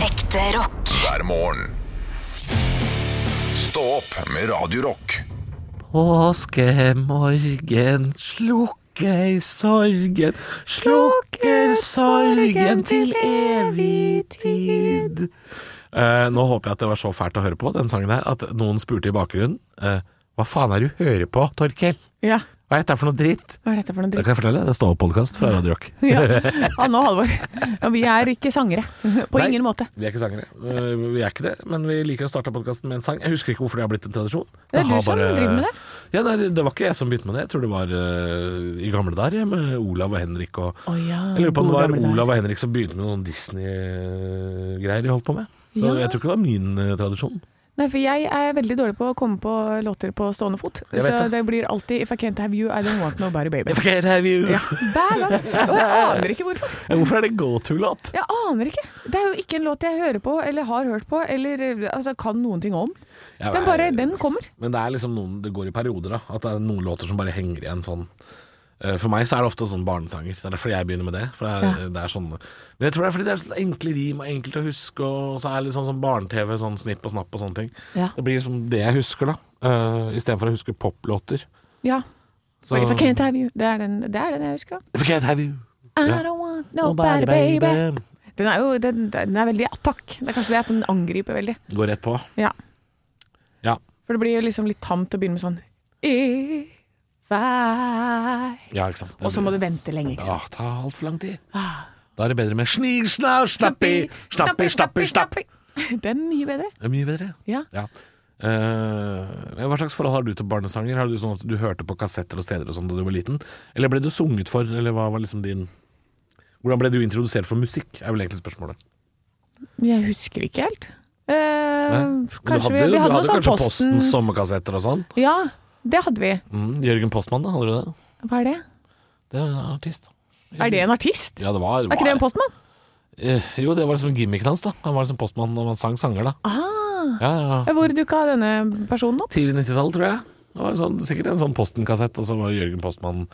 Ekte rock. hver morgen. Stå opp med Radio Rock. Påskemorgen slukker sorgen, slukker sorgen til evig tid. Eh, nå håper jeg at det var så fælt å høre på, den sangen her, at noen spurte i bakgrunnen eh, Hva faen er det du hører på, Torkel? Ja, Hva er dette for noe dritt? hva er dette for noe Det dritt? kan jeg fortelle, det står podkast fra Radio Rock. Ja. Anne og Halvor. Ja, vi er ikke sangere. På Nei. ingen måte. Vi er ikke sangere, Eh, vi er ikke det, men vi liker å starte podkasten med en sang. Jeg husker ikke hvorfor det har blitt en tradisjon. Det er du har som driver med det. Ja, nei, det- det var ikke jeg som begynte med det. Jeg tror det var eh, i gamle dager, jeg, med Olav og Henrik og Å ja, Jeg lurer på om det gode var gamle dager. Olav og Henrik som begynte med noen Disney-greier de holdt på med. Så Ja. jeg tror ikke det var min eh, tradisjon. Nei, for jeg er veldig dårlig på å komme på låter på stående fot. Jeg vet Så det. det blir alltid 'If I can't have you, I don't want nobody, baby'. Ja, Ja. hver gang. Og jeg aner ikke hvorfor. Hvorfor er det go to-låt? Jeg aner ikke. Det er jo ikke en låt jeg hører på, eller har hørt på, eller altså, kan noen ting om. Den bare, den kommer. Men det er liksom noen Det går i perioder, da. At det er noen låter som bare henger igjen sånn. Eh, For meg så er det ofte sånn barnesanger. Det er derfor jeg begynner med det. For det er, det er sånn Men jeg tror det er fordi det er sånn enkle rim og enkelt å huske, og så er det litt sånn som barne-TV, sånn snipp og snapp og sånne ting. Ja. Det blir liksom det jeg husker, da. Uh, Istedenfor å huske poplåter. Ja. Så- If I can't have you. Det er den, det er den jeg husker. da. If I can't have you. Ja. I don't want nobody, Oh, baby. Den er jo den, den er veldig attakk. Det er kanskje det at den angriper veldig. Går rett på. Ja. Ja. For det blir jo liksom litt tamt å begynne med sånn If I Ja, ikke sant. Og så må du vente lenge, ikke Ja, sant. ta altfor lang tid. Ah. Da er det bedre med snig, snar, snappi, snappi, snappi, snapp. Den er mye bedre. Det er mye bedre. Ja. Ja. Eh, hva slags forhold har du til barnesanger? Har du sånn at du hørte på kassetter og steder og sånn da du var liten? Eller ble du sunget for, eller hva var liksom din Hvordan ble du introdusert for musikk, er vel egentlig spørsmålet. Men Jeg husker ikke helt. Eh, Men kanskje du vi, hadde, vi du hadde noe hadde sånn kanskje Postens Postens sommerkassetter og sånn? Ja, det hadde vi. Mm, Jørgen Postmann, da? Hadde du det? Hva er det? Det er en artist. Er det en artist? Ja, det var, Er ikke det en postmann? Eh, Jo, det var liksom gimmicken hans, da. Han var liksom postmann og han sang sanger, da. Ah. Ja, ja, ja. Hvor dukka denne personen opp? Tidlig 90-tall, tror jeg. Det var en sånn, sikkert en sånn Posten-kassett, og så var det Jørgen Postmann.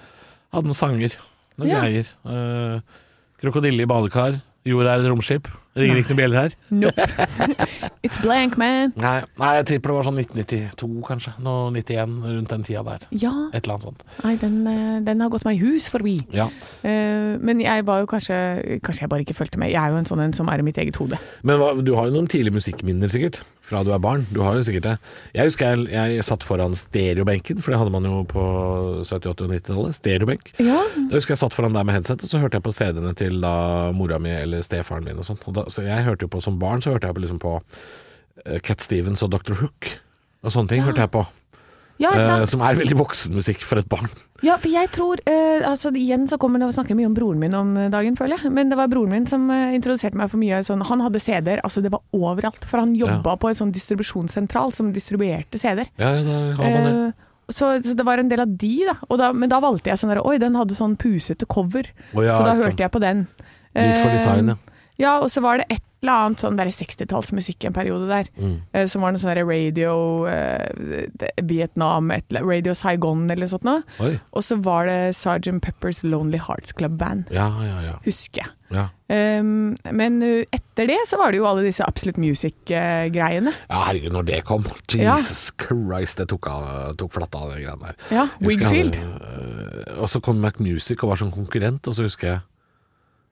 Hadde noen sanger, noen Ja. greier. Eh, Krokodille i badekar. Jorda er et romskip. Ringer ikke noen bjeller her. Nope. It's blank, man. Nei, nei, jeg tipper det var sånn 1992, kanskje. Nå 91, rundt den tida der. Ja, Et eller annet sånt. nei, den, eh, den har gått meg hus forbi. Ja. Eh, men jeg var jo kanskje Kanskje jeg bare ikke fulgte med. Jeg er jo en sånn en som er i mitt eget hode. Men hva, du har jo noen tidlige musikkminner sikkert Fra du er barn, du har jo sikkert det Jeg husker jeg, jeg satt foran stereobenken For det hadde man jo på 70, 80 og 90-tallet Stereobenk Ja. Jeg husker jeg satt foran der med headset Og så hørte jeg på CD-ene til da mora mi eller stefaren min og sånt og da, Så jeg hørte jo på som barn Så hørte jeg på, liksom på eh, Cat Stevens og Dr. Hook Og sånne ting hørte jeg på Ja, ikke eh, sant? Som er veldig voksenmusikk for et barn ja, for jeg tror eh, altså, Igjen så kommer det å snakke mye om broren min om eh, dagen, føler jeg. Men det var broren min som eh, introduserte meg for mye sånn Han hadde CD-er, altså det var overalt. For han jobba på en sånn distribusjonssentral som distribuerte CD-er. Ja, ja, der har man det Eh, så, så det var en del av de, da. Og da men da valgte jeg sånn der Oi, den hadde sånn pusete cover. Å ja, Eh, så da ikke hørte sant. jeg på den. Lik for Eh, design, ja. ja, og så var det et eller annet sånn der 60-tallsmusikk en periode der. Mm. eh, som var noe sånn der radio eh, det- Vietnam, et, eller- Radio Saigon eller sånt noe. Oi, Og så var det Sergeant Peppers Lonely Hearts Club Band, ja, ja, ja, husker jeg. ja. Um, men uh, etter det så var det jo alle disse Absolute Music-greiene. Ja, herregud, når det kom. Ja. Jesus Christ, det tok, av, tok flatt av det greiene der. Ja, Husker jeg Wigfield. hadde, øh, Og så kom Mac Music og var som konkurrent, og så husker jeg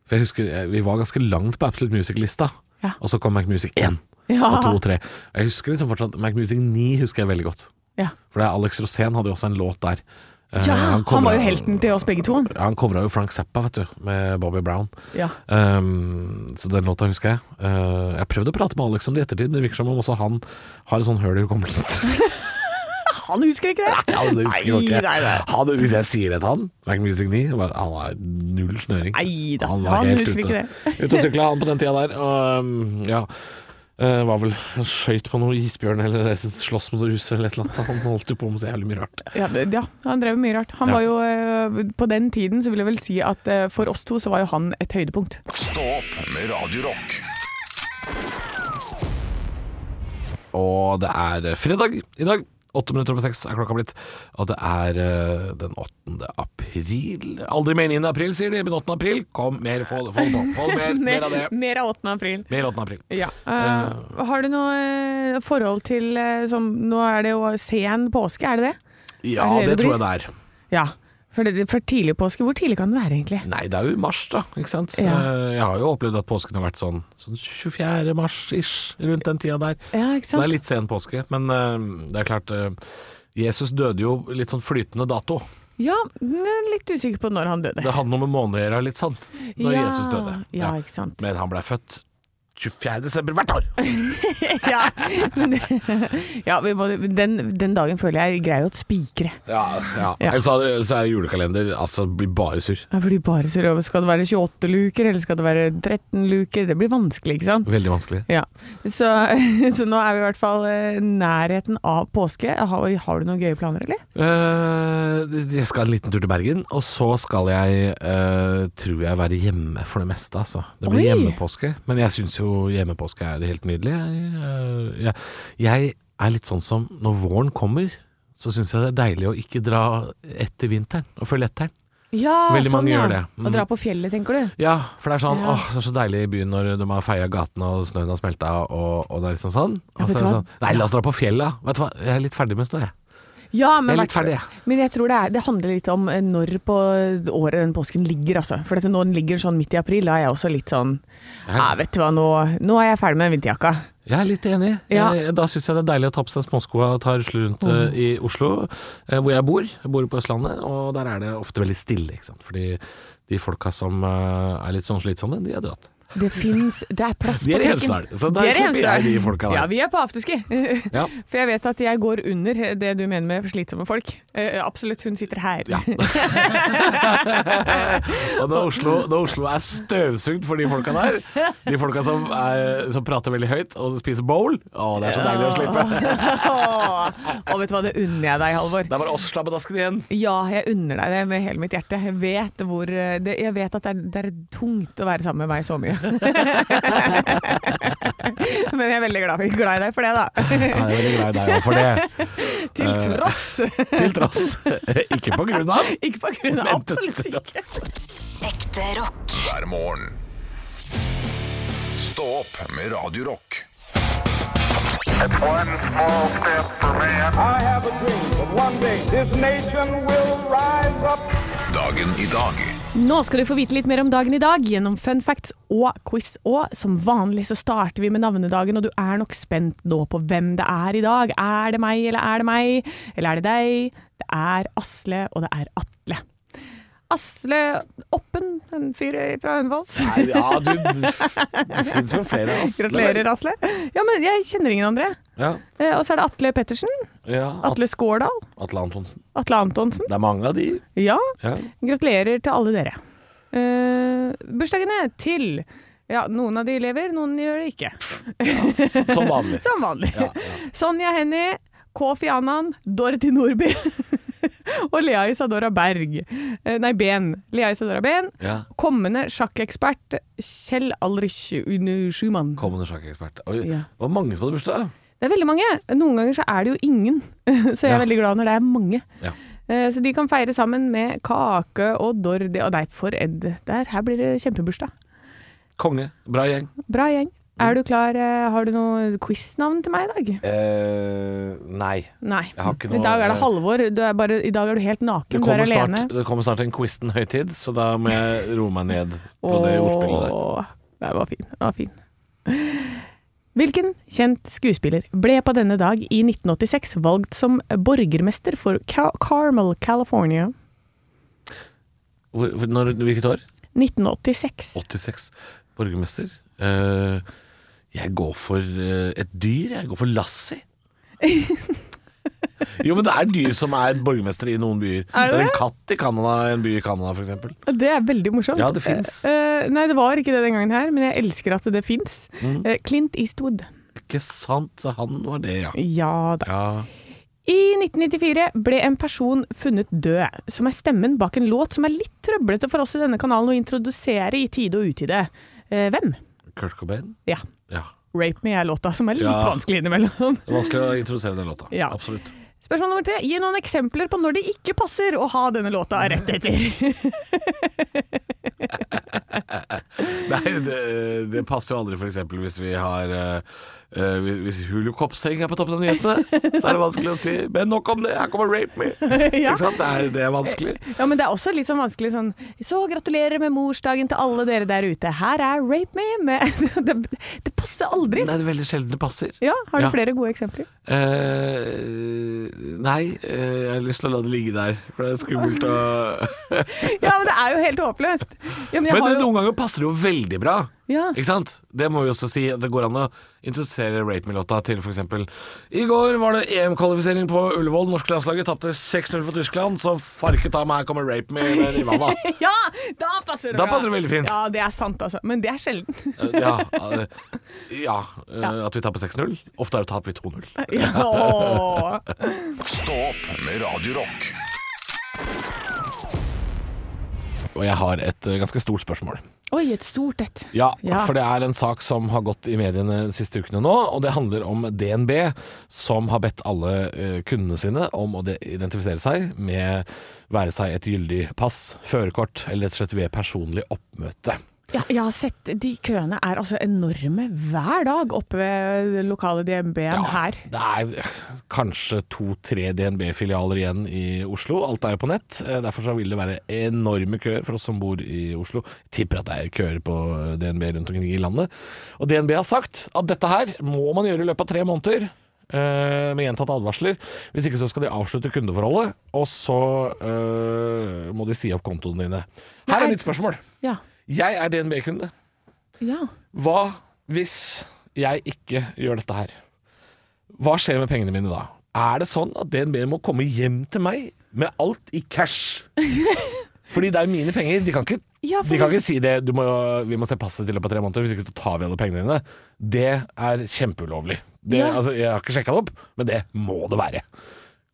For jeg husker eh, vi var ganske langt på Absolute Music-lista, Ja. og så kom Mac Music 1 og 2 og 3. Jeg husker liksom fortsatt Mac Music 9 husker jeg veldig godt. ja. For det er Alex Rosén hadde jo også en låt der. Eh, ja han covra- var jo helten til oss begge to. han. Han covra jo Frank Zappa, vet du, med Bobby Brown. Ja. Ehm, så den låta husker jeg. Eh, jeg prøvde å prate med Alex om det i ettertid, men det virker som om også han har et sånn høl i hukommelsen. Han husker ikke det! Ja, det husker jeg jo ikke. Nei, nei, Han, hvis jeg sier det til han, Mac Music 9, bare, han har null snøring. Nei da, var han helt husker ute. ikke det. Ute og sykla han på den tida der. Og, um, ja. eh, var vel skøyt på noe isbjørn eller slåss mot noe russ eller et eller annet. Han holdt jo på med så jævlig mye rart. Ja, det- ja, han drev mye rart. Han Ja. var jo, eh, På den tiden så vil jeg vel si at eh, for oss to så var jo han et høydepunkt. Stå opp med Radio Rock. Og det er eh, fredag i dag, Åtte minutter over seks er klokka blitt, og det er eh, den 8. april. Aldri mer 9. april, sier de, men 8. april. Kom, mer, få det, få det på. Få det mer, mer av det. Mer av 8. april. Mer 8. april. Ja. Eh, har du noe eh, forhold til eh, som, Nå er det jo sen påske, er det det? Ja, Er det det det det tror jeg det er. Ja. For, det, for tidlig påske, hvor tidlig kan det være egentlig? Nei, det er jo i mars, da. Ikke sant. Ja. Eh, Jeg har jo opplevd at påsken har vært sånn, sånn 24. mars-ish, rundt den tida der. Ja, ikke Så det sant? er litt sen påske, men eh, det er klart eh, Jesus døde jo litt sånn flytende dato. Ja, men jeg er litt usikker på når han døde. Det hadde noe med måneden å gjøre, litt sånn, når ja, Jesus døde. Ja, ikke sant. Men han blei født 24. desember hvert år! ja, men ja vi må, den, den dagen føler jeg er grei å spikre. Ja, Ja. Ellers, er- ellers er julekalender Altså, blir bare surr. Ja, for de bare ser over. Skal det være 28 luker, eller skal det være 13 luker? Det blir vanskelig, ikke sant? Veldig vanskelig. Ja, så, så nå er vi i hvert fall eh, nærheten av påske. Har, har du noen gøye planer, eller? Eh, jeg skal en liten tur til Bergen, og så skal jeg, eh, tror jeg, være hjemme for det meste, altså. Det blir Oi! hjemmepåske, men jeg syns jo hjemmepåske er helt nydelig. Jeg, eh, jeg, jeg er litt sånn som når våren kommer, så syns jeg det er deilig å ikke dra etter vinteren og følge etter den. Ja, Veldig mange gjør det. Mm. Å dra på fjellet, tenker du? Ja, for det er sånn Ja. åh, det er så deilig i byen når de har feia gatene og snøen har smelta og, og det er liksom sånn. Ja, Og så er det vet du hva? sånn Nei, la oss dra på fjellet. Vet du hva, jeg er litt ferdig med snø, jeg. Ja, men, Jeg er litt hvert- ferdig, jeg. men jeg tror det, er, det handler litt om eh, når på året den påsken ligger, altså. For dette, nå den ligger sånn midt i april, da er jeg også litt sånn Ja, Jeg- vet du hva, nå, nå er jeg ferdig med den vinterjakka. Jeg er litt enig. Ja. Jeg, da syns jeg det er deilig å ta på seg småskoa og ta rusle rundt eh, i Oslo, eh, hvor jeg bor. Jeg bor på Østlandet, og der er det ofte veldig stille. Ikke sant? Fordi de folka som eh, er litt sånn slitsomme, de har dratt. Det fins Det er plass De på er i trikken. Hemsedal, så De der er i slipper jeg Hemsedal. de folka der. Ja, vi er på afterski. Ja. For jeg vet at jeg går under det du mener med slitsomme folk. Eh, absolutt, hun sitter her. Ja. Og når Oslo, når Oslo er støvsugd for de folka der, de folka som, er, som prater veldig høyt og spiser bowl, å, det er så deilig å slippe. Og vet du hva, det unner jeg deg, Halvor. Det er bare oss slabbedaskene igjen. Ja, jeg unner deg det med hele mitt hjerte. Jeg vet, hvor, eh, det, jeg vet at det er, det er tungt å være sammen med meg så mye. Men jeg er veldig glad, glad i deg for det, da. Ja, jeg er veldig glad i deg òg for det, Til Eh. tross. til tross. Ikke på grunn av. Ikke på grunn av Men til absolutt ikke. Ekte rock. hver morgen. Stå opp med Radio Rock. One small step for man. I have a dream that one day this nation will rise up. Dagen i dag Nå skal du få vite litt mer om dagen i dag gjennom fun facts og quiz. Og som vanlig så starter vi med navnedagen, og du er nok spent nå på hvem det er i dag. Er det meg, eller er det meg? Eller er det deg? Det er Asle, og det er Atle. Asle Oppen, en fyr fra Hønefoss. Ja, du, det finnes jo flere Asle. Gratulerer, Asle. Ja, men jeg kjenner ingen andre. Ja, Eh, Og så er det Atle Pettersen. ja Atle. Atle Skårdal. Atle Antonsen. Atle Antonsen. Det er mange av de. Ja. Ja. Gratulerer til alle dere. Eh, bursdagene til ja, noen av de lever, noen gjør det ikke. Som vanlig. Som vanlig. Ja, ja. Sonja Hennie, Kofi Annan, Dorothy Nordby og Lea Isadora Berg. Eh, nei, Ben. Lea Isadora Ben. Ja. Kommende sjakkekspert Kjell Alrich Une Schumann. Kommende sjakkekspert. Oi, Ja. det var mange som hadde bursdag. Det er veldig mange. Noen ganger så er det jo ingen, så jeg er Ja. veldig glad når det er mange. Ja. Eh, Så de kan feire sammen med kake og Dordi og nei, for Ed. Der, her blir det kjempebursdag. Konge. Bra gjeng. Bra gjeng. Mm. Er du klar? Eh, Har du noe quiznavn til meg i dag? nei. Nei. Jeg har ikke noe- eh, I dag er det Halvor. Du er bare, I dag er du helt Det naken. Du er kommer, alene. snart, det kommer snart en Quisten-høytid, så da må jeg roe meg ned på det ordspillet der. Åh, Nei, det var fin. Det var fin. Hvilken kjent skuespiller ble på denne dag i 1986 valgt som borgermester for Ca Carmel, California? Hvor, hvor- når, hvilket år? 1986. 86. Borgermester. Eh, jeg går for eh, et dyr. Jeg går for Lassie. Jo, men det er dyr som er borgermester i noen byer. Er det det er en det? katt i Canada, en by i Canada f.eks. Det er veldig morsomt. Ja, det finnes. Eh, eh, nei, det var ikke det den gangen her, men jeg elsker at det fins. Mm. Eh, Clint Eastwood. Ikke sant, så han var det, ja. Ja da. ja. I 1994 ble en person funnet død, som er stemmen bak en låt som er litt trøblete for oss i denne kanalen å introdusere i tide og utide. Eh, hvem? Kurt Cobain. Ja. Ja. 'Rape Me' er låta som er litt Ja. vanskelig innimellom. Det er vanskelig å introdusere den låta. Ja. Absolutt. Spørsmål nummer tre. Gi noen eksempler på når det ikke passer å ha denne låta rett etter. Nei, det, det passer jo aldri f.eks. hvis vi har eh, eh, hvis- Hvis hulukoppseng er på toppen av nyhetene, så er det vanskelig å si. Men nok om det, her kommer Rape Me! Ja. Ikke sant? Det er, det er vanskelig. Ja, men det er også litt sånn vanskelig sånn Så gratulerer med morsdagen til alle dere der ute. Her er Rape Me med Det, det passer aldri. Det er veldig sjelden det passer. Ja, har du Ja. flere gode eksempler? Eh, nei, eh, jeg har lyst til å la det ligge der, for det er skummelt å Ja, men det er jo helt håpløst. Ja, men jeg Men har det, jo noen ganger passer det jo veldig bra. Ja. Ikke sant? Det må vi også si. at Det går an å introdusere Rate Me-låta til f.eks. I går var det EM-kvalifisering på Ullevål. Norske landslaget tapte 6-0 for Tyskland, så farket av meg her kommer Rape Me med Nirvana. Ja, da passer det Da bra. passer det veldig fint. Ja, det er sant, altså. Men det er sjelden. ja, eh, ja, eh, At vi taper 6-0. Ofte er det taper vi 2-0. Ja. Åh. Stå opp med Radio Rock. Og jeg har et eh, ganske stort spørsmål. Oi, et stort et. Ja, Ja. for det er en sak som har gått i mediene de siste ukene nå, og det handler om DNB, som har bedt alle eh, kundene sine om å de- identifisere seg med være seg et gyldig pass, førerkort eller rett og slett ved personlig oppmøte. Ja, jeg har sett de køene er altså enorme hver dag oppe ved lokale DNB-en her. Det er kanskje to-tre DNB-filialer igjen i Oslo. Alt er jo på nett. eh, Derfor så vil det være enorme køer for oss som bor i Oslo. Jeg tipper at det er køer på eh, DNB rundt omkring i landet. Og DNB har sagt at dette her må man gjøre i løpet av tre måneder. eh, Med gjentatte advarsler. Hvis ikke så skal de avslutte kundeforholdet, og så eh, må de si opp kontoene dine. Her Nei. er mitt spørsmål. Ja. Jeg er DNB-kunde. ja. Hva hvis jeg ikke gjør dette her? Hva skjer med pengene mine da? Er det sånn at DNB må komme hjem til meg med alt i cash? Fordi det er mine penger. De kan ikke, Ja, for de kan hvis- ikke si det. Du må, vi må se passet til løpet av tre måneder, hvis ikke så tar vi alle pengene dine. Det er kjempeulovlig. Det, Ja. altså, jeg har ikke sjekka det opp, men det må det være.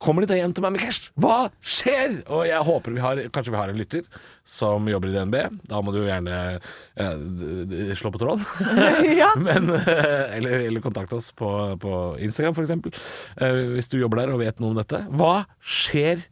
Kommer de da hjem til meg med cash? Hva skjer? Og jeg håper vi har, kanskje vi har en lytter som jobber i DNB. Da må du jo gjerne eh, d- d- slå på tråden. Ja. Men, eh, eller, eller kontakt oss på, på Instagram f.eks. Eh, hvis du jobber der og vet noe om dette. Hva skjer?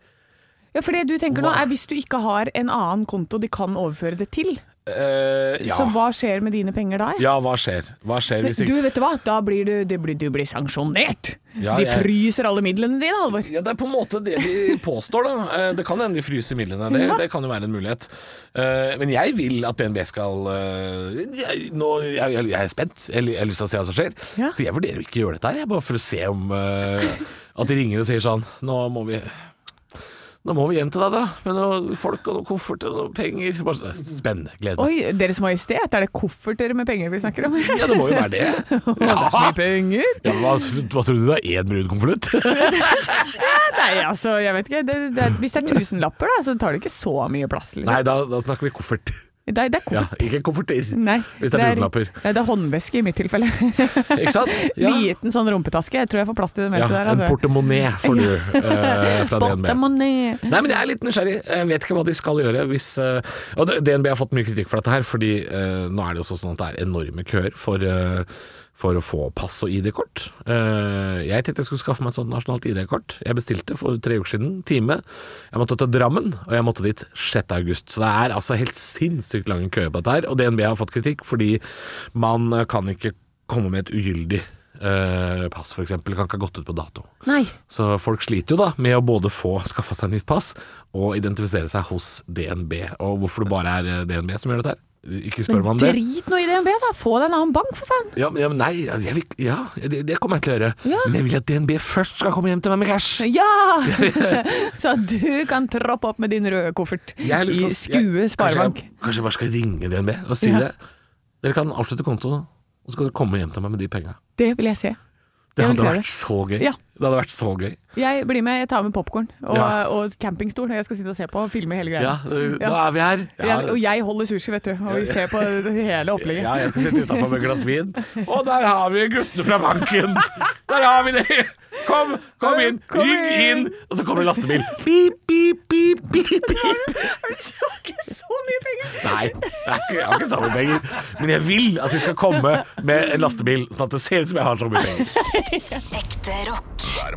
Ja, for det du tenker nå Hva? er hvis du ikke har en annen konto de kan overføre det til, Eh, ja. så hva skjer med dine penger da? ja, hva skjer? Hva skjer Men hvis du, ikke vet du hva? Da blir du, du blir, du blir sanksjonert. Ja, de jeg- fryser alle midlene dine, Halvor. ja, Det er på en måte det de påstår, da. Eh, Det kan hende de fryser midlene. Det, det kan jo være en mulighet. Eh, Men jeg vil at DNB skal eh, jeg, nå, jeg, jeg, jeg er spent. Jeg, jeg har lyst til å se hva som skjer. Ja. Så jeg vurderer å ikke gjøre dette her, jeg, bare for å se om eh, At de ringer og sier sånn Nå må vi nå må vi hjem til deg, da. Med noe folk og noe koffert og noe penger. Bare så- Spennende. Gleder meg. Oi, Deres Majestet, er det kofferter med penger vi snakker om? Ja, det må jo være det. Det er Ja. så mye penger! Ja, hva, hva tror du det er én brun konvolutt? Nei, altså, jeg vet ikke. Det, det, er- hvis det er tusenlapper, da, så tar det ikke så mye plass. Liksom. Nei, da, da snakker vi koffert. Det, er- det er Ja, koffert. ikke kofferter. Nei, Hvis det er tusenlapper. Nei, det er håndveske i mitt tilfelle. Ikke sant? Ja. Liten sånn rumpetaske. Jeg tror jeg får plass til det Ja, meste der. en Altså. portemonnaie får du eh, fra DNB. Portemonnaie. Nei, men jeg er litt nysgjerrig. Jeg vet ikke hva de skal gjøre hvis eh, Og det- DNB har fått mye kritikk for dette her, fordi eh, nå er det jo også sånn at det er enorme køer for eh, for å få pass og ID-kort. Eh, jeg tenkte jeg skulle skaffe meg et sånt nasjonalt ID-kort. Jeg bestilte for tre uker siden. Time. Jeg måtte til Drammen, og jeg måtte dit 6. august. Så det er altså helt sinnssykt lange køer på dette her. Og DNB har fått kritikk fordi man eh, kan ikke komme med et ugyldig eh, pass, f.eks. Kan ikke ha gått ut på dato. Nei. Så folk sliter jo da med å både få skaffa seg nytt pass og identifisere seg hos DNB. Og hvorfor det bare er eh, DNB som gjør dette her? Ikke spør meg om det. Drit nå i DNB, da. Få deg en annen bank, for faen. Ja, men ja, men nei, jeg vil, ja, det, det kommer jeg til å gjøre. Ja. Men jeg vil at DNB først skal komme hjem til meg med cash. Ja! Så at du kan troppe opp med din røde koffert Jeg har lyst i til å- Skue jeg- sparebank. Kanskje jeg, kanskje jeg bare skal ringe DNB og si Ja. det. Dere kan avslutte kontoen, og så kan dere komme hjem til meg med de penga. Det vil jeg se. Det Jeg vil hadde se det. vært så gøy. Ja. Det hadde vært så gøy. Jeg blir med, jeg tar med popkorn og, Ja. og campingstol. Jeg skal sitte og se på og filme hele Ja, greia. øh, nå Ja. er vi her. Ja, Jeg, og jeg holder sushi, vet du, og vi ser på det hele opplegget. Ja, jeg skal sitte utenfor med et glass vin. Og der har vi guttene fra banken! Der har vi det! Kom, kom inn! Kom Rygg inn. inn! Og så kommer det lastebil. Pip, pip, pip, pip, pip. Har du ikke så mye penger? Nei, det er ikke, jeg har ikke så mye penger. Men jeg vil at vi skal komme med en lastebil, sånn at det ser ut som jeg har så mye penger. Ekte rock. hver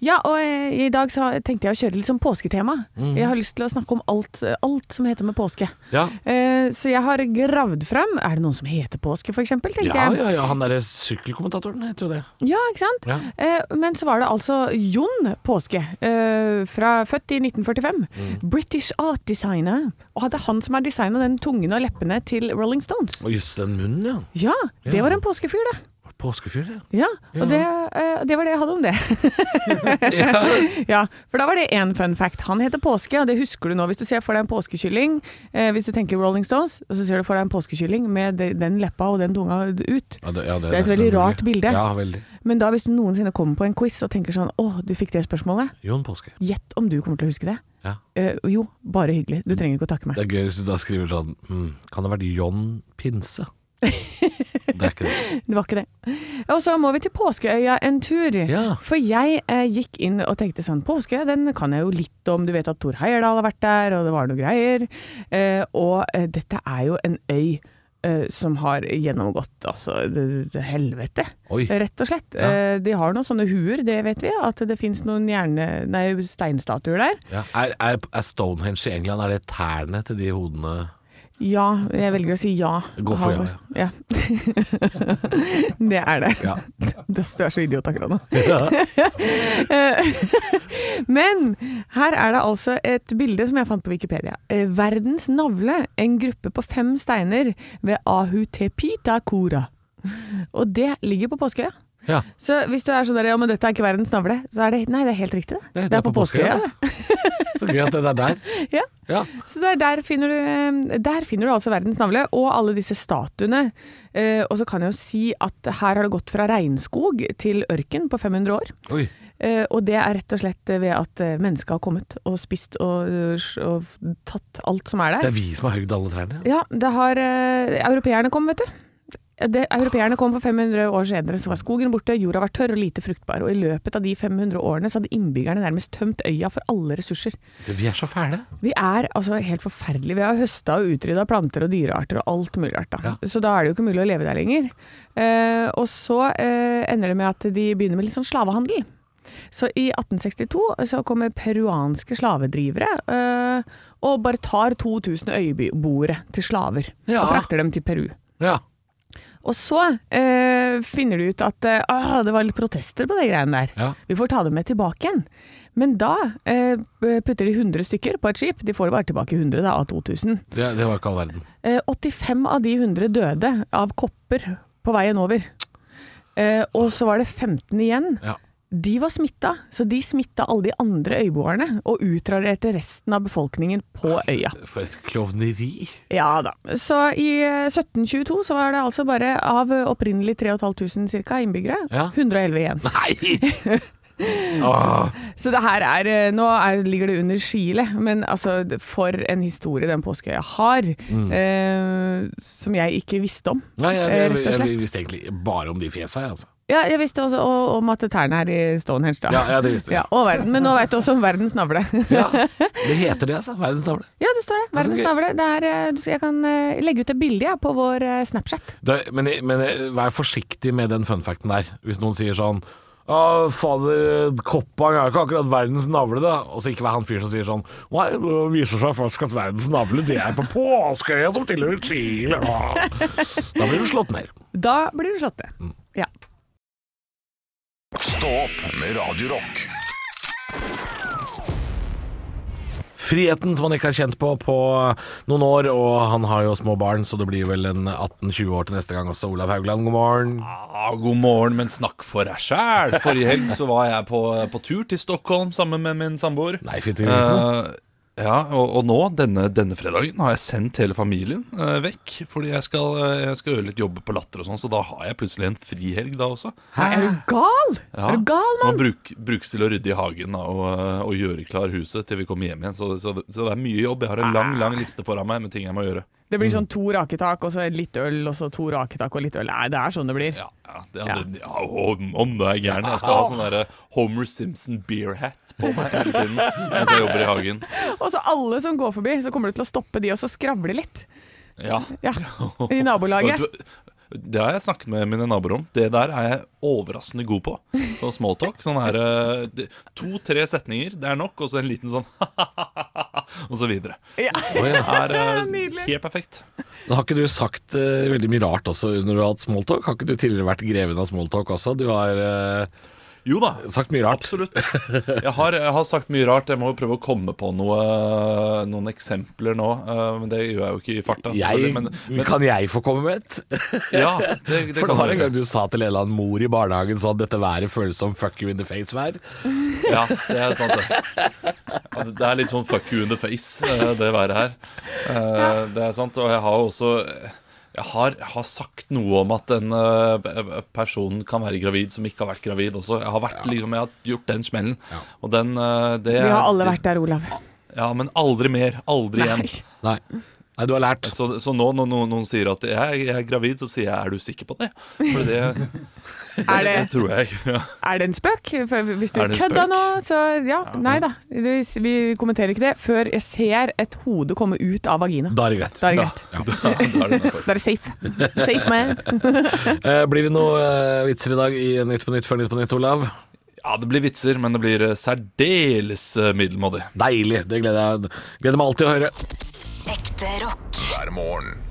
Ja, og eh, i dag så tenkte jeg å kjøre litt sånn påsketema. Mm. Jeg har lyst til å snakke om alt, alt som heter med påske. Ja. Eh, så jeg har gravd frem Er det noen som heter påske, for eksempel? Tenkte Ja, jeg. ja, ja, han derre sykkelkommentatoren heter jo det. Ja, ikke sant? Ja. Eh, men så var det altså Jon Påske, eh, fra, født i 1945. Mm. British art designer. Og det er han som har designa den tungen og leppene til Rolling Stones. Og jøss, den munnen, ja. Ja, det Ja. var en påskefyr, det. Påskefyr, ja. Ja, og Det, eh, det var det jeg hadde om det. ja, For da var det én fun fact. Han heter Påske, og det husker du nå. Hvis du ser for deg en påskekylling, eh, hvis du tenker Rolling Stones, og så ser du for deg en påskekylling med de- den leppa og den tunga ut. Ja, det, Det er et nesten veldig umulig. rart bilde. Ja, veldig. Men da hvis du noensinne kommer på en quiz og tenker sånn Å, du fikk det spørsmålet. Jon Påske. Gjett om du kommer til å huske det. Ja. Eh, jo, bare hyggelig. Mm. Du trenger ikke å takke meg. Det er gøy hvis du da skriver sånn mm, Kan det være John Pinse? Det er ikke det. Det var ikke det. Og så må vi til Påskeøya en tur. Ja. For jeg eh, gikk inn og tenkte sånn Påskeøya, den kan jeg jo litt om. Du vet at Thor Heyerdahl har vært der, og det var noe greier. Eh, og eh, dette er jo en øy. eh, Som har gjennomgått altså det- det- helvete, Oi. rett og slett. Ja. Eh, De har noen sånne huer, det vet vi. At det fins noen hjerne, nei, steinstatuer der. Ja. Er, er, er Stonehenge i England Er det tærne til de hodene Ja, jeg velger å si ja. Gå for ja, ja. det er det. Ja. Du du er så idiot akkurat nå. Men her er det altså et bilde som jeg fant på Wikipedia. Eh, Verdens navle, en gruppe på fem steiner ved Ahutepitakura. Og det ligger på Påskeøya. Ja. Så hvis du er sånn der, ja, men dette er ikke verdens navle, så er det Nei, det er helt riktig, det. Det er- Det er på Påskeøya. det. Så gøy at det er der. Ja. Ja. Så der, der, finner du, eh, der finner du altså verdens navle, og alle disse statuene. Eh, og så kan jeg jo si at her har det gått fra regnskog til ørken på 500 år. Oi. Eh, og det er rett og slett ved at eh, mennesket har kommet og spist og, eh, s- og f- tatt alt som er Det der. er vi som har høgd alle trærne. Ja, det har eh, Europeerne kom, vet du. Det, europeerne kom for 500 år senere, så var skogen borte, jorda var tørr og lite fruktbar. Og i løpet av de 500 årene så hadde innbyggerne nærmest tømt øya for alle ressurser. Vi er så fæle. Vi er altså helt forferdelige. Vi har høsta og utrydda planter og dyrearter og alt mulig rart. Da. Ja. Så da er det jo ikke mulig å leve der lenger. Eh, og så eh, ender det med at de begynner med litt sånn slavehandel. Så i 1862 så kommer peruanske slavedrivere eh, og bare tar 2000 øyboere til slaver Ja. og frakter dem til Peru. Ja. Og så eh, finner du ut at eh, ah, det var litt protester på de greiene der. Ja. Vi får ta dem med tilbake igjen. Men da eh, putter de 100 stykker på et skip. De får bare tilbake 100 da, av 2000. Det, det var ikke all verden. Eh, 85 av de 100 døde av kopper på veien over. Eh, og så var det 15 igjen. Ja. De var smitta, så de smitta alle de andre øyboerne og utraderte resten av befolkningen på øya. For et klovneri. Ja da. Så i eh, 1722 så var det altså bare av eh, opprinnelig 3500 ca. innbyggere, Ja. 111 igjen. Nei! Åh. Så det her er eh, Nå er, ligger det under Chile, men altså det- for en historie den påskeøya har. Mm. Eh, som jeg ikke visste om. Nei, jeg, jeg, Eh, rett og jeg, slett. visste egentlig bare om de fjesa, jeg, altså. Ja, jeg visste også o- om at tærne er i Stonehenge, da. Ja, ja, det visste jeg. Ja, og verden, men nå veit du også om verdens navle. Ja. Det heter det, altså. Verdens navle. ja, det står det. er så Verdens gøy. navle. Det er, eh, du skal- jeg kan eh, legge ut et bilde jeg, på vår eh, Snapchat. Det- Men, men vær forsiktig med den funfacten der. Hvis noen sier sånn Å, fader, Koppang er ikke akkurat verdens navle, da. Og så ikke vær han fyren som sier sånn Nei, det viser seg faktisk at verdens navle, det er på påskeøya som tilhører Chile. Åh. Da blir du slått ned. Da blir du slått ned. Mm. Ja. Stå opp med Radio Rock. Friheten som han ikke har kjent på på noen år, og han har jo små barn, så det blir vel en 18-20 år til neste gang også. Olav Haugland, god morgen. Ja, Ah, god morgen, men snakk for deg sjæl. Forrige helg så var jeg på, på tur til Stockholm sammen med min samboer. Nei, fytti grisen. Eh, ja, og, og nå, denne, denne fredagen, har jeg sendt hele familien eh, vekk. Fordi jeg skal, eh, jeg skal gjøre litt jobb på Latter og sånn, så da har jeg plutselig en frihelg da også. Nei, Er du gal? Ja, Er du gal, mann? Man bruk, brukes til å rydde i hagen da, og, eh, og gjøre klar huset til vi kommer hjem igjen. Så, så, så det er mye jobb. Jeg har en lang, lang liste foran meg med ting jeg må gjøre. Det blir Mm. sånn to raketak, og så litt øl, og så to raketak og litt øl. Nei, det er sånn det blir. Ja, ja, det, ja. Det, ja om, om det er gæren. Jeg skal ha sånn derre Homer Simpson beer hat på meg hele tiden mens jeg jobber i hagen. Og så alle som går forbi, så kommer du til å stoppe de og så skravle litt Ja. ja, i Og nabolaget. du- Det har jeg snakket med mine naboer om. Det der er jeg overraskende god på. Sånn smalltalk. Sånn her eh, det- To-tre setninger, det er nok. Og så en liten sånn og så videre. Å, ja. Er eh, Nydelig. helt perfekt. Men Har ikke du sagt eh, veldig mye rart også når du har hatt smalltalk? Har ikke du tidligere vært greven av smalltalk også? Du har eh, Jo da. sagt mye rart. Absolutt. Jeg har, jeg har sagt mye rart. Jeg må jo prøve å komme på noe, noen eksempler nå. eh, Men det gjør jeg jo ikke i farta. selvfølgelig, Jeg, Men, men kan jeg få komme med et? ja, det, det For det kan var du en gang gjøre. du sa til en eller annen mor i barnehagen sånn dette været føles som fuck you in the face-vær. Ja, det er sant, det. Ja, det- Det er litt sånn fuck you in the face, eh, det været her. Eh, Det er sant. Og jeg har jo også jeg har, jeg har sagt noe om at en eh, p- person kan være gravid som ikke har vært gravid også. Jeg har, vært, liksom, jeg har gjort den smellen. Og den eh, det, Vi har alle vært der, Olav. Ja, men aldri mer. Aldri igjen. Nei. Nei. Nei, du har lært. Så, så nå når noen, noen sier at jeg, jeg er gravid, så sier jeg 'er du sikker på det?' For det, det, Er det, det tror jeg ikke. Ja. er det en spøk? For hvis du Er det en kødda spøk? nå, så ja. Nei da. Vi, vi kommenterer ikke det før jeg ser et hode komme ut av vagina. Da er det greit. Da er det greit. Da, da er det derfor. Da er det safe. Safe man. Eh, Blir det noen eh, vitser i dag i Nytt på nytt før Nytt på nytt, Olav? Ja, det blir vitser, men det blir eh, særdeles eh, middelmådig. Deilig. Det gleder jeg Gleder meg alltid å høre. Ekte rock. hver morgen.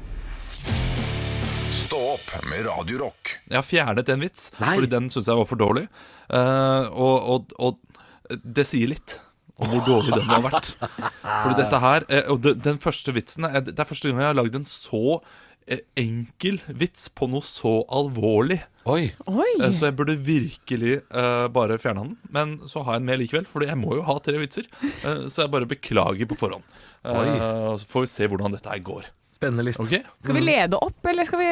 Stå opp med Radio Rock. Jeg har fjernet en vits, Nei. fordi den syns jeg var for dårlig. Eh, og, og, og det sier litt om hvor dårlig den har vært. Fordi dette her eh, Og den, den første vitsen er, Det er første gang jeg har lagd en så eh, enkel vits på noe så alvorlig. Oi. Oi. Eh, Så jeg burde virkelig eh, bare fjerne den. Men så har jeg den med likevel, Fordi jeg må jo ha tre vitser. Eh, så jeg bare beklager på forhånd. Eh, Oi. og så får vi se hvordan dette her går. Spennende liste. Ok? Skal vi lede opp, eller skal vi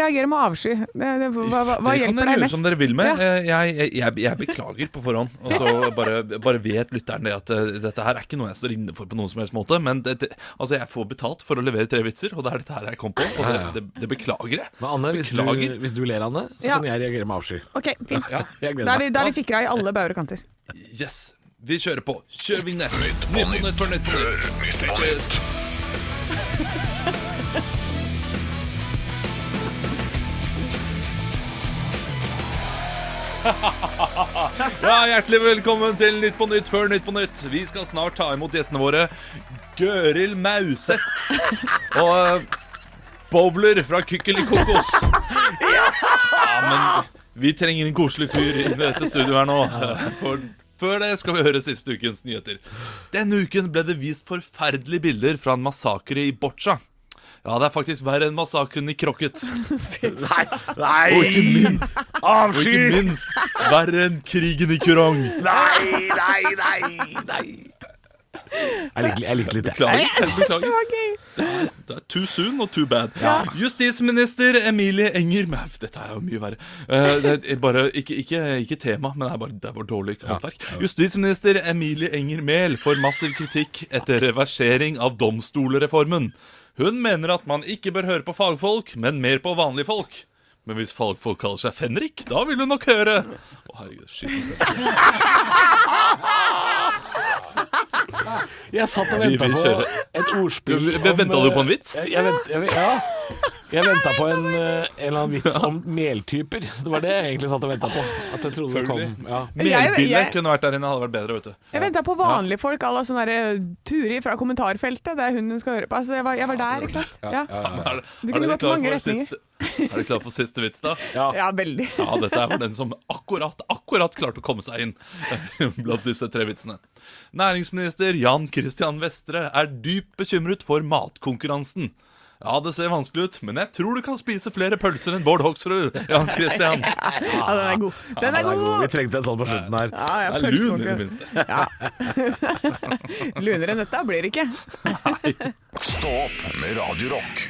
reagere med avsky? Det, det, hva hva, hva hjelper Dere kan dere deg gjøre mest? som dere vil med. Ja. Eh, Jeg, jeg, jeg, jeg beklager på forhånd. Og så bare, bare vet lytteren det at eh, dette her er ikke noe jeg står inne for på noen som helst måte. Men det, det, altså jeg får betalt for å levere tre vitser, og det er dette her jeg kom på. Og det, det, det beklager jeg. Men Anne, hvis du, Beklager. hvis du ler, Anne, så Ja. kan jeg reagere med avsky. Ok, fint. Ja. Jeg Da gleder er vi, meg. da er vi sikra i alle bauger og kanter. Yes, vi kjører på. Kjør vignett. Nytt på Nytt på nytt for nytt. Hør Nytt på nytt Ja, Hjertelig velkommen til Nytt på Nytt før Nytt på Nytt. Vi skal snart ta imot gjestene våre Gøril Mauseth og eh, Bowler fra Kykkelikokos. Ja, men vi trenger en koselig fyr inn i dette studioet her nå. eh, For før det skal vi høre siste ukens nyheter. Denne uken ble det vist forferdelige bilder fra en massakre i Boccia. Ja, det er faktisk verre enn massakren i Krokket. Og ikke minst Og ikke minst verre enn krigen i Kurong. Jeg liker, jeg liker litt det. Beklager. Beklager. Så gøy! Det er too soon og too bad. Justisminister Emilie Enger Mæf, Dette er jo mye verre. Eh, det er bare, ikke, ikke, ikke tema, men det er bare, det er bare dårlig håndverk. Justisminister Emilie Enger Mehl får massiv kritikk etter reversering av domstolreformen. Hun mener at man ikke bør høre på fagfolk, men mer på vanlige folk. Men hvis fagfolk kaller seg Fenrik, da vil hun nok høre. Å, herregud, altså. skyt meg selv. Jeg satt og Vi- venta vi på kjører. et ordspill Du- du- om, ventet du på en vits? eh, Jeg, jeg, vent, jeg, ja. Jeg venta på en, eh, en eller annen vits om meltyper. Det var det jeg egentlig satt og venta på. At jeg trodde det Selvfølgelig. kom ja. Jeg- Melbildet jeg- kunne vært der inne, hadde vært bedre, vet du. Jeg venta på vanlige folk à la sånn derre Turi fra kommentarfeltet. Det er hun hun skal høre på. Altså, jeg, var, jeg var der, ikke sant? Ja, Er, Du kunne er dere gått klar mange for retninger. siste, er dere klar for siste vits, da? ja veldig. Ja, dette er for den som akkurat, akkurat klarte å komme seg inn blant disse tre vitsene. Næringsminister Jan Christian Vestre er dypt bekymret for matkonkurransen. Ja, det ser vanskelig ut, men jeg tror du kan spise flere pølser enn Bård Hoksrud, Jan Christian. Ja, den er god. Den Ja, er det er god. Vi god! trengte en sånn på slutten her. Ja, ja, Det er lun, i det pølsekonkurranse. minste. Lunere enn dette blir det ikke. Stå opp med Radio Rock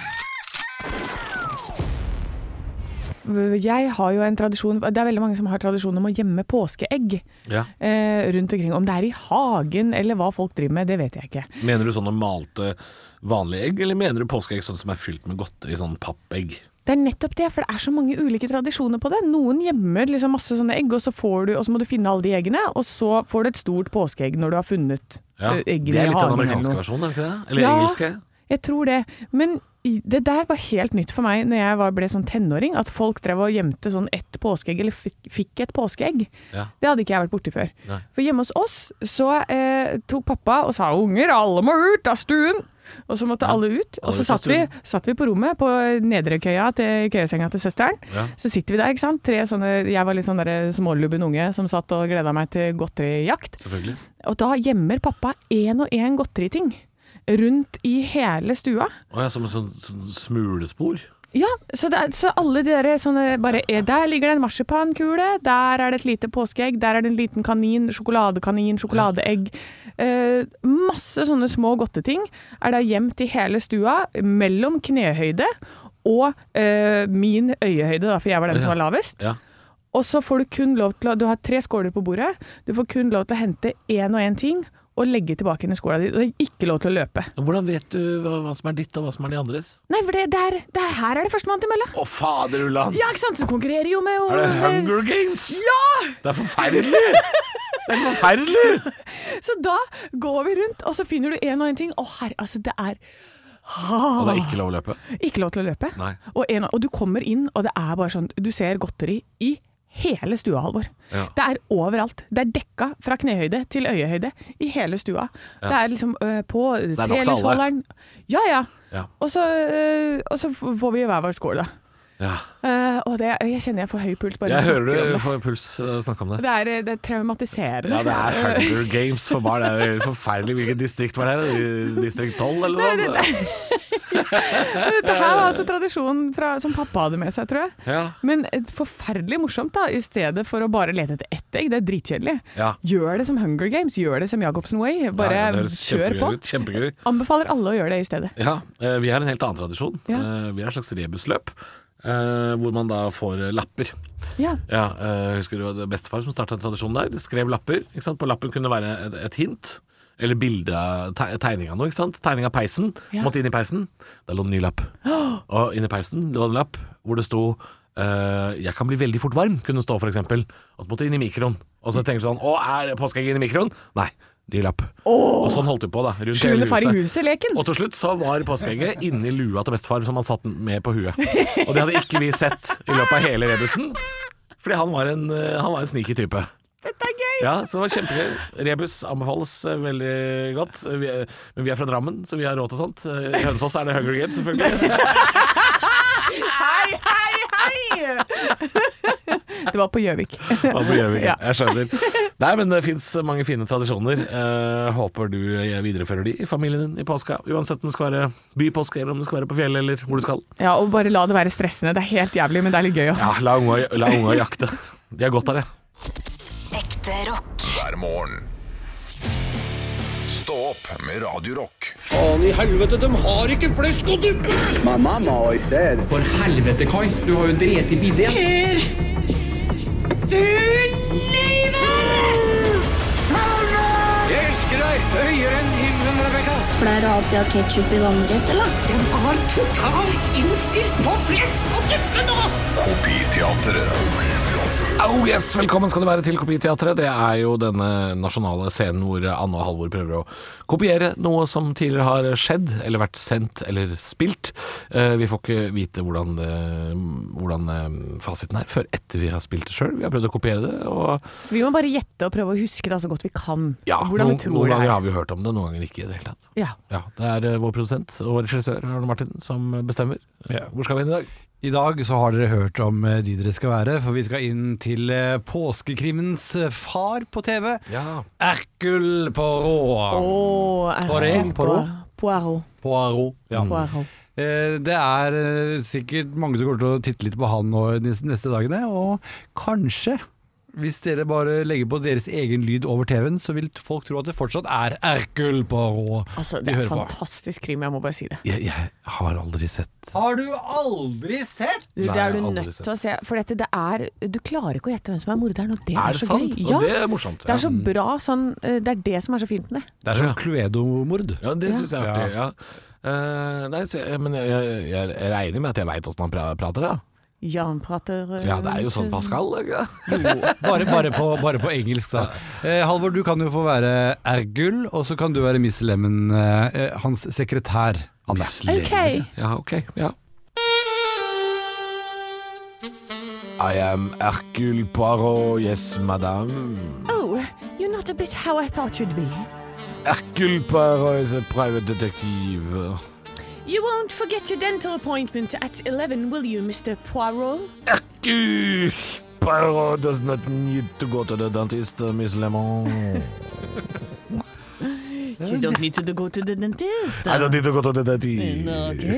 Jeg har jo en tradisjon Det er veldig mange som har tradisjon om å gjemme påskeegg Ja. eh, rundt omkring. Om det er i hagen eller hva folk driver med, det vet jeg ikke. Mener du sånne malte vanlige egg, eller mener du påskeegg sånn som er fylt med godteri, sånn pappegg? Det er nettopp det, for det er så mange ulike tradisjoner på det. Noen gjemmer liksom masse sånne egg, og så, får du, og så må du finne alle de eggene, og så får du et stort påskeegg når du har funnet Ja. eh, Det eggene i er litt den hagen. eller amerikanske noe. versjonen, er det ikke det? Eller Ja. engelske? Jeg tror det. Men i- det der var helt nytt for meg når jeg var, ble sånn tenåring, at folk drev og gjemte sånn ett påskeegg, eller fikk, fikk et påskeegg. Ja. Det hadde ikke jeg vært borti før. Nei. For hjemme hos oss så eh, tok pappa og sa 'unger, alle må ut av stuen'. Og så måtte alle ut. Og alle så ut av satt vi, stuen. satt vi på rommet på nedre køya til køyesenga til søsteren. Ja. Så sitter vi der, ikke sant. Tre sånne, jeg var litt sånn der smålubben unge som satt og gleda meg til godterijakt. Selvfølgelig. Og da gjemmer pappa én og én godteriting rundt i hele stua. Å ja, som et sånt, sånt smulespor. Ja, så, det er, så alle de der sånne bare eh, Der ligger det en marsipankule, der er det et lite påskeegg, der er det en liten kanin, sjokoladekanin, sjokoladeegg. Eh, masse sånne små godteting er da gjemt i hele stua, mellom knehøyde og eh, min øyehøyde, da, for jeg var den som var lavest. Ja. Og så får du kun lov til å Du har tre skåler på bordet. Du får kun lov til å hente én og én ting og legge tilbake inn i skåla di. Du har ikke lov til å løpe. Men Hvordan vet du hva, hva som er ditt, og hva som er de andres? Nei, for det, det er, det er, her er det førstemann til mølla. Å, fader ulland! Ja, ikke sant? Du konkurrerer jo med Er det Hunger Games? Ja! Det er forferdelig! Det er forferdelig! Så da går vi rundt, og så finner du en og en ting. Å herre, altså det er Og det er ikke lov å løpe. ikke lov til å løpe. Nei. Og, en, og du kommer inn, og det er bare sånn Du ser godteri i hele stua, Halvor. Ja. Det er overalt. Det er dekka fra knehøyde til øyehøyde i hele stua. Det er liksom øh, på er nok til alle. telysholderen Ja, ja. Ja. Og, så, øh, og så får vi hver vår skål, da. ja. Eh, og det, jeg kjenner jeg får høy puls bare Jeg jeg hører snakker du om det. får puls uh, snakke om det. Det er, øh, det er traumatiserende. Ja, det er Hunger Games for barn. Det er jo helt forferdelig. Hvilket distrikt var det her? Distrikt 12, eller noe? sånt? Dette her Eh. var altså tradisjonen fra, som pappa hadde med seg, tror jeg. Ja. Men et forferdelig morsomt, da. I stedet for å bare lete etter ett egg. Det er dritkjedelig. Ja. Gjør det som Hunger Games. Gjør det som Jacobsen Way. Bare Ja, det høres kjør på. kjempegøy ut, Kjempegøy. Anbefaler alle å gjøre det i stedet. Ja, eh, vi har en helt annen tradisjon. Ja. Eh, Vi har et slags rebusløp, eh, hvor man da får eh, lapper. Ja. Ja, eh, husker du hva det- bestefar som starta tradisjonen der? Skrev lapper. Ikke sant? På lappen kunne være et, et hint. Eller bilde av te- tegning av noe. ikke sant? Tegning av peisen. Ja. Måtte inn i peisen. Der lå en ny lapp. Og inni peisen lå en lapp hvor det sto eh, 'Jeg kan bli veldig fort varm', kunne det stå f.eks. Og så måtte inn i mikroen. Og så tenker du sånn 'Å, er påskeegget inn i mikroen?' Nei. Ny lapp. Og sånn holdt de på, da. Rundt hele Skjule far i huset. huset-leken. Og til slutt så var påskeegget inni lua til bestefar, som han satt med på huet. Og det hadde ikke vi sett i løpet av hele rebusen, fordi han var en, eh, han var en sneaky type. Dette er gøy! Ja, så det var kjempegøy. Rebus anbefales eh, veldig godt. Vi er, men vi er fra Drammen, så vi har råd til sånt. Eh, I Hønefoss er det Hunger Games, selvfølgelig. Hei, hei, hei! Det var på Gjøvik. Hva gjør vi Ja. ikke? Jeg skjønner. Nei, men det fins mange fine tradisjoner. Eh, håper du eh, viderefører de i familien din i påska. Uansett om det skal være bypåske, eller om det skal være på fjellet, eller hvor du skal. Ja, og bare la det være stressende. Det er helt jævlig, men det er litt gøy òg. Ja, la unga, la unga jakte. De har godt av det. Ekte rock. hver morgen. Stå opp med Radio Rock. Faen i helvete, de har ikke flesk og duppe! My mama always said For helvete, Kai. Du har jo dret i bidé. Jeg elsker deg høyere enn himmelen, Rebekka. Pleier du alltid å ha ketsjup i vannrett, eller? De var totalt innstilt på flesk og duppe nå! Kopiteatret. Oh yes, Velkommen skal du være til Kopiteatret. Det er jo denne nasjonale scenen hvor Anne og Halvor prøver å kopiere noe som tidligere har skjedd, eller vært sendt eller spilt. Eh, Vi får ikke vite hvordan, det- hvordan eh, fasiten er før etter vi har spilt det sjøl. Vi har prøvd å kopiere det. og Så vi må bare gjette og prøve å huske det så godt vi kan. ja, hvordan noen, vi tror noen det ganger er. har vi jo hørt om det, noen ganger ikke i det hele tatt. Ja. Ja, Det er eh, vår produsent og regissør Arne Martin som bestemmer. Eh, Hvor skal vi inn i dag? I dag så har dere hørt om eh, de dere skal være, for vi skal inn til eh, påskekrimmens eh, far på TV. Ja. Hercule Poirot. Poirot? Poirot? Poirot. Poirot. Ja. Poirot. Eh, Det er eh, sikkert mange som kommer til å titte litt på han nå de neste dagene, og kanskje hvis dere bare legger på deres egen lyd over TV-en, så vil folk tro at det fortsatt er Hercule Poirot Altså, de det er hører på. fantastisk krim, jeg må bare si det. Jeg, jeg har aldri sett Har du aldri sett? Du, Nei, det er du aldri nødt sett. til å se. For dette, det er, du klarer ikke å gjette hvem som er morderen, og det er, Er det så sant? gøy. Og Ja, det er morsomt. det er ja. så bra sånn eh, Det er det som er så fint med det. Det er som Cluedo-mord. Ja, det Ja. syns jeg er artig. Ja. Eh, nei, så, jeg- men jeg, jeg, jeg regner med at jeg veit åssen han pra- prater, da. Jan prater eh, Ja, det er jo litt, sånn eh, Pascal. er det Ikke? det? Bare, bare, på, bare på engelsk, da. Eh, Halvor, du kan jo få være Ergull, og så kan du være Miss Lemon, eh, eh, hans sekretær. Anne. OK. Ja, ok. Ja. I am Hercule Poirot, yes madame. Oh, you're not a bit how I thought you'd be. Hercule Poirot is a private detective. You won't forget your dental appointment at 11, will you, Mr. Poirot? Hercule Poirot does not need to go to the dentist, uh, Miss Lemon. You don't need to go to the dentist. I don't need to go to the dentist.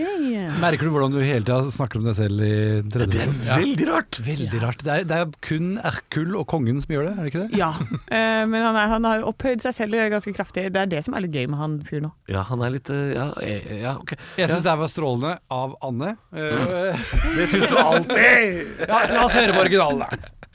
Merker du hvordan du hele tida snakker om deg selv i tredje Det er person? veldig rart. Veldig rart. Det er, det er kun Erkul og kongen som gjør det, er det ikke det? Ja, eh, men han, er, han har jo opphøyd seg selv ganske kraftig. Det er det som er litt gøy med han fyren nå. Ja, han er litt uh, Ja, eh, ja ok. Jeg syns ja. det her var strålende av Anne. Eh, det syns du alltid! ja, la oss høre på originalen, da.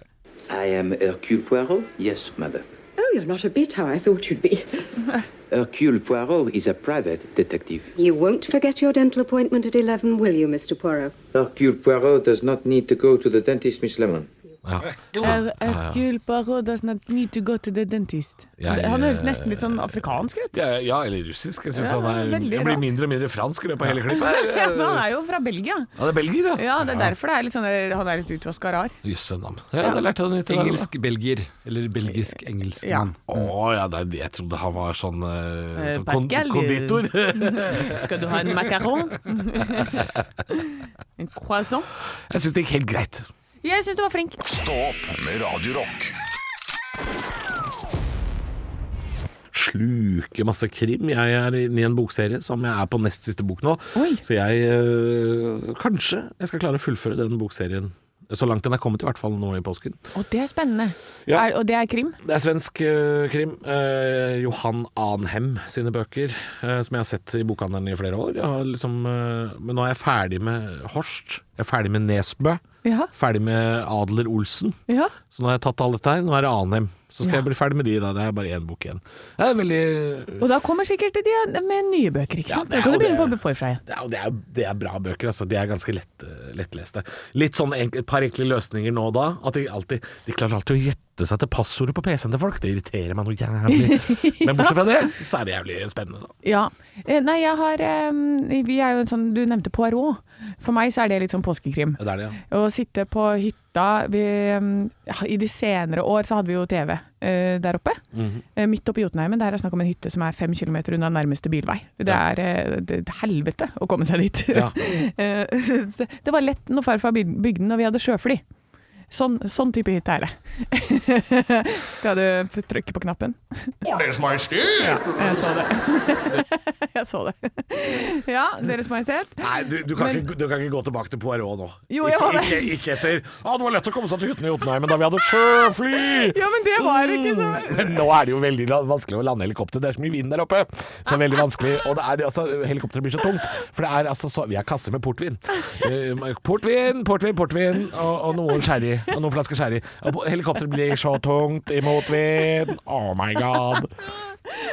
I am Hercule Poirot. Yes, madam. Oh, you're not a bit how I thought you'd be. Hercule Poirot is a private detective. You won't forget your dental appointment at 11, will you, Mr. Poirot? Hercule Poirot does not need to go to the dentist, Miss Lemon. Hercule Poirot does not need to go to the dentist. Jeg, han høres eh, nesten litt sånn afrikansk ut. Ja, ja, eller russisk. Jeg synes Ja, han er, veldig jeg blir rart. mindre og mindre fransk i løpet av hele klippet. Ja, men han er jo fra Belgia. Ja, det er belgier, ja. Ja, det er derfor det er litt sånn, der- han er litt utvaska rar. Jøsse navn. Ja, jeg lærte noe nytt i dag, da. Engelsk-belgier. Eller belgisk-engelsk Ja. mann. Å ja, det er det. jeg trodde han var sånn, eh, Eh, sånn kon Pascal, eh, konditor. Skal du ha en macaron? en croissant? Jeg syns det gikk helt greit. Jeg syns du var flink. Stå opp med Radio Rock. Sluker masse krim. Jeg er inne i en bokserie som jeg er på nest siste bok nå. Oi. Så jeg eh, Kanskje jeg skal klare å fullføre den bokserien. Så langt den er kommet, i hvert fall nå i påsken. Og det er spennende. Ja. Er, og det er krim? Det er svensk eh, krim. Eh, Johan Anhem sine bøker, eh, som jeg har sett i bokhandelen i flere år. Jeg har liksom, eh, men nå er jeg ferdig med Horst. Jeg er ferdig med Nesbø. Ja. Ferdig med Adler Olsen. Ja. Så nå har jeg tatt alt dette her. Nå er det Anhem. Så skal jeg bli ferdig med de, da. Det er bare én bok igjen. Det er veldig Og da kommer sikkert de eh, med nye bøker, ikke sant? det er da kan jo du begynne det. på forfra igjen. det er, det, er, det er bra bøker, altså. De er ganske lett, eh, lettleste. Litt sånn enk- et par enkle løsninger nå og da. At de alltid De klarer alltid å gjette seg til passordet på PC-en til folk. Det irriterer meg noe jævlig. Men bortsett fra det, så er det jævlig spennende, da. Ja. Eh, Nei, jeg har eh, Vi er jo en sånn Du nevnte Poirot. For meg så er det litt sånn påskekrim. Ja, Det er det, ja. Å sitte på hytta vi, eh, I de senere år så hadde vi jo TV eh, der oppe. Mhm. Eh, midt oppe i Jotunheimen. Der er snakk om en hytte som er fem kilometer unna nærmeste bilvei. Det Ja. er eh, det, det er helvete å komme seg dit. Ja. Eh, det, det var lett når farfar byg- bygde den og vi hadde sjøfly. Sånn, sånn type hytte er det. Skal du p- trykke på knappen? Ordens Majestet! Jeg så det. jeg så det. Ja, Deres Majestet. Nei, du, du, kan Men- ikke, du kan ikke gå tilbake til Poirot nå. Jo, jeg ikke, må det. ikke, ikke etter Ja, det var lett å komme seg til hyttene i Jotunheimen da vi hadde sjøfly! Ja, men det var ikke så Mm. Men nå er det jo veldig la- vanskelig å lande helikopter. Det er så mye vind der oppe. Så det er veldig vanskelig. Og det er, altså, helikopteret blir så tungt. For det er altså så Jeg kaster med portvin. Eh, Portvin, portvin, portvin. Og, og noen sherry. Og noen flasker sherry. Og po- helikopteret blir så tungt i motvind. Oh my god.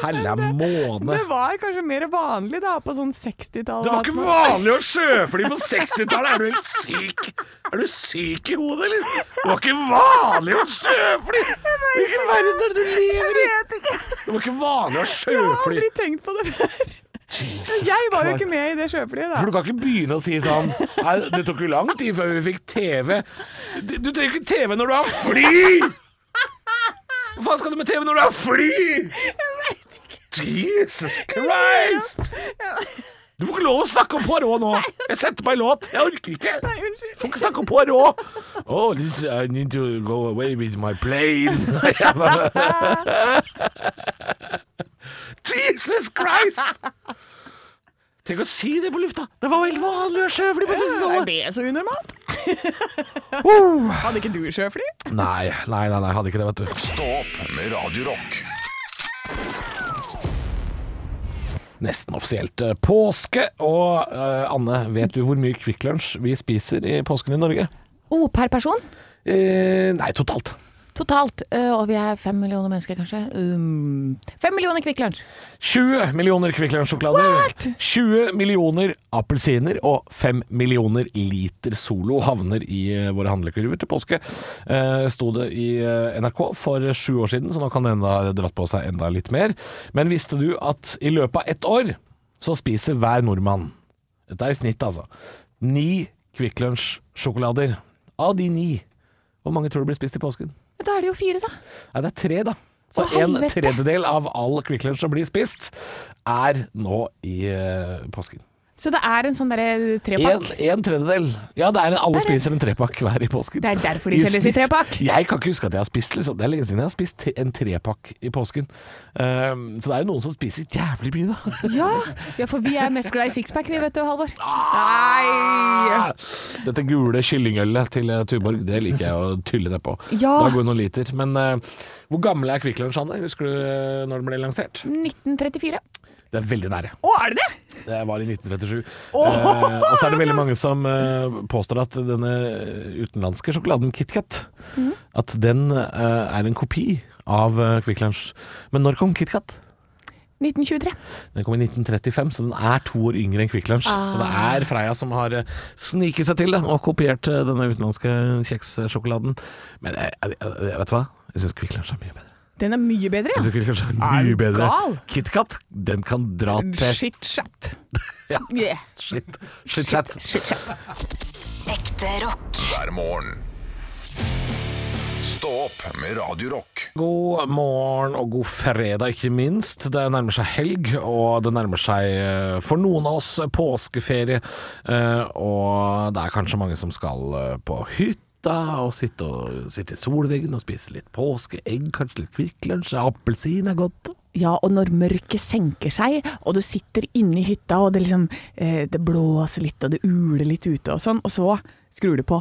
Helle måne. Det var kanskje mer vanlig da, på sånn 60-tallet. Det var ikke vanlig å sjøfly på 60-tallet! Er du helt syk? Er du syk i hodet, eller? Det var ikke vanlig å sjøfly! Hvilken verden er det du lever i? Det var ikke vanlig å Jeg har sjøfly. aldri tenkt på det før. Jeg var jo ikke med i det For sjøflyet, da. du kan ikke begynne å si sånn Nei, det tok jo lang tid før vi fikk TV. Du du trenger ikke TV når du har fly! Hva faen skal du med TV når du har fly? Jesus Christ! Du får ikke lov å snakke om Poirot nå. Jeg setter på en låt. Jeg orker ikke. Nei, Du unnskyld. får ikke snakke om Poirot. Oh, this, I need to go away with my plane. Jesus Christ! Tenk å si det på lufta. Det var jo helt vanlig å sjøfly på 60-tallet. Er det så unormalt? Uh. Hadde ikke du sjøfly? Nei, nei, nei, nei, hadde ikke det, vet du. Stå opp med Radio Rock. Nesten offisielt eh, påske. Og eh, Anne, vet du hvor mye Kvikk Lunsj vi spiser i påsken i Norge? Oh, per person? Eh, nei, totalt. Totalt. Eh, og vi er fem millioner mennesker, kanskje. Um, fem millioner Kvikk Lunsj. 20 millioner Kvikk Lunsj-sjokolader. What? 20 millioner appelsiner og 5 millioner liter Solo havner i eh, våre handlekurver til påske. Eh, Sto det i eh, NRK for sju år siden, så nå kan det enda ha dratt på seg enda litt mer. Men visste du at i løpet av ett år så spiser hver nordmann Dette er i snitt, altså. Ni Kvikk Lunsj-sjokolader. Av de ni, hvor mange tror du blir spist i påsken? Men Da er det jo fire, da. Nei, det er tre, da. Så Å, en helvete! tredjedel av all Kvikk Lunsj som blir spist, er nå i eh, påsken. Så det er en sånn derre En, trepakk. en tredjedel. Ja, det er, alle Der er- spiser en trepakk hver i påsken. Det er derfor de selges i snitt. trepakk. Jeg kan ikke huske at jeg har spist liksom. Det er lenge siden jeg har spist te- en trepakk i påsken. Ehm, så det er jo noen som spiser jævlig mye, da. Ja. ja, for vi er mest glad i sixpack, vi vet du, Halvor. Nei! Dette gule kyllingølet til eh, Tuborg, det liker jeg å tylle nedpå. Ja. Da går det noen liter. Men eh, hvor gammel er Kvikk Lunsj, Anne? Husker du eh, når den ble lansert? 1934. Det er veldig nære. Å, er det det? Det var i 1937. Åh, eh, og så er det det var veldig mange som eh, påstår at denne utenlandske sjokoladen KitKat, Mm. at den eh, er en kopi av eh, Kvikk Lunsj. Men når kom KitKat? 1923. Den kom i 1935, så den er to år yngre enn Kvikk Lunsj. Ah. Så det er Freia som har eh, sniket seg til det, og kopiert eh, denne utenlandske kjekssjokoladen. Men jeg, jeg, jeg, vet du hva? Jeg syns Kvikk Lunsj er mye bedre. Den er mye bedre, Jeg ja. synes Kvikk Lunsj er Er du mye bedre. gal? KitKat, den kan dra til Shit, shit. Ja. Yeah. Shit, shit, chat. Ekte rock. hver morgen. Stå opp med Radio Rock. God morgen og god fredag, ikke minst. Det nærmer seg helg, og det nærmer seg eh, for noen av oss påskeferie. Eh, Og det er kanskje mange som skal eh, på hytta og sitte, og, sitte i solveggen og spise litt påskeegg, kanskje litt Kvikk Lunsj. Appelsin er godt. Ja, og når mørket senker seg, og du sitter inne i hytta, og det liksom eh, Det blåser litt, og det uler litt ute og sånn, og så skrur du på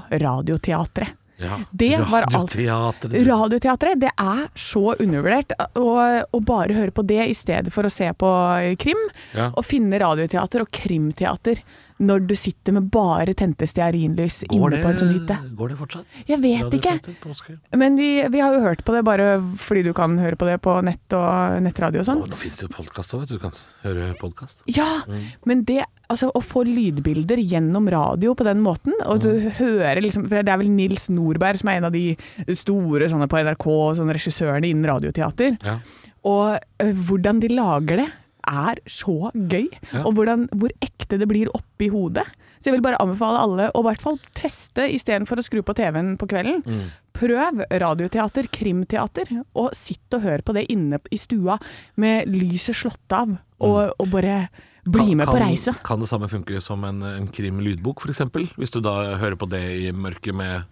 Radioteatret. Ja, Det var alt. radioteatret. Radioteatret, det er så undervurdert. Og, og bare høre på det i stedet for å se på eh, krim. Ja. Å finne radioteater og krimteater når du sitter med bare tente stearinlys Går inne på en sånn det- hytte. Går det fortsatt? Jeg vet ikke. Radioteater, påske? Men vi, vi har jo hørt på det bare fordi du kan høre på det på nett og nettradio og sånn. Å, Nå fins det jo podkast òg, vet du. Du kan s- høre podkast. Ja, men det Altså, å få lydbilder gjennom radio på den måten, og du hører liksom For det er vel Nils Nordberg som er en av de store sånne på NRK, sånne regissørene innen radioteater. Ja. Og ø, hvordan de lager det, er så gøy. Ja. Og hvordan, hvor ekte det blir oppi hodet. Så jeg vil bare anbefale alle å i hvert fall teste istedenfor å skru på TV-en på kvelden. Mm. Prøv radioteater, krimteater, og sitt og hør på det inne i stua med lyset slått av, og, og bare bli Mm. Kan- med på kan- reise. Kan det samme funke som en, en krim-lydbok, f.eks.? Hvis du da hører på det i mørket med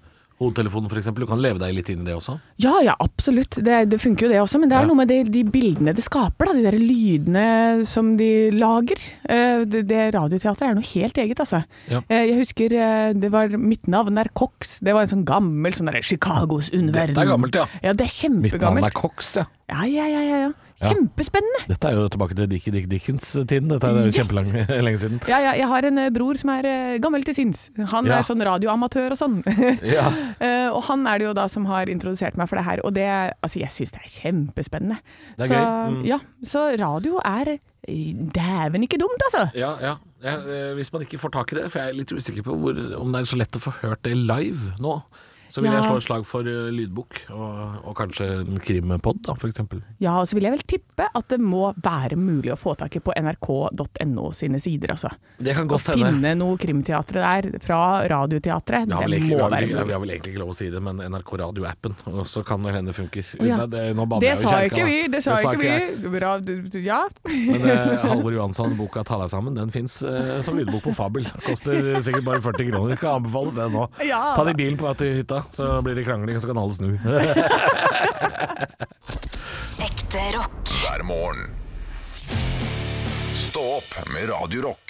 hodetelefonen, f.eks. Du kan leve deg litt inn i det også. Ja, ja, absolutt. Det, det funker jo det også, men det er Ja. noe med de, de bildene det skaper, da, de der lydene som de lager. Eh, Det, det radioteatret er noe helt eget, altså. Ja. Eh, Jeg husker eh, det var mitt navn er Cox. Det var en sånn gammel sånn derre Chicagos underverden. Dette er gammelt, ja. Ja, det er kjempegammelt. Cox, ja. Ja, ja, ja, ja, ja. Kjempespennende! Dette er jo tilbake til Dickie Dick Dickens-tiden. Dette er jo Yes! kjempelang lenge siden. Ja, ja, jeg har en eh, bror som er eh, gammel til sinns. Han Ja. er sånn radioamatør og sånn. Ja. Eh, og han er det jo da som har introdusert meg for det her, og det, altså jeg synes det er kjempespennende. Det er så, gøy, mm. Ja, så radio er eh, dæven ikke dumt, altså. Ja, ja. Jeg, eh, hvis man ikke får tak i det, for jeg er litt usikker på hvor, om det er så lett å få hørt det live nå. Så vil Ja. jeg slå et slag for eh, lydbok, og, og kanskje en krimpod, da, for eksempel. Ja, og så vil jeg vel tippe at det må være mulig å få tak i på nrk.no sine sider, altså. Det kan Å godt hende. finne noe krimteatre der fra Radioteatret, Vi har, vel det egentlig, vi, må har vel, være ikke- vi mulig. har vel egentlig ikke lov å si det, men NRK Radio-appen, og så kan vel hende det funker. Å ja. Nei, det, nå bader Det jeg jo i sa kjerka, ikke vi, da. det sa ikke jeg. vi. Radio- Ja. Men eh, Halvor Johansson, boka 'Ta deg sammen', den fins eh, som lydbok på Fabel. Koster sikkert bare 40 kroner. Kan anbefales det nå. Ja, Ta da. det i bilen på vei til hytta, så blir det krangling, så kan alle snu. Ekte rock. hver morgen. Stå opp med Radio Rock.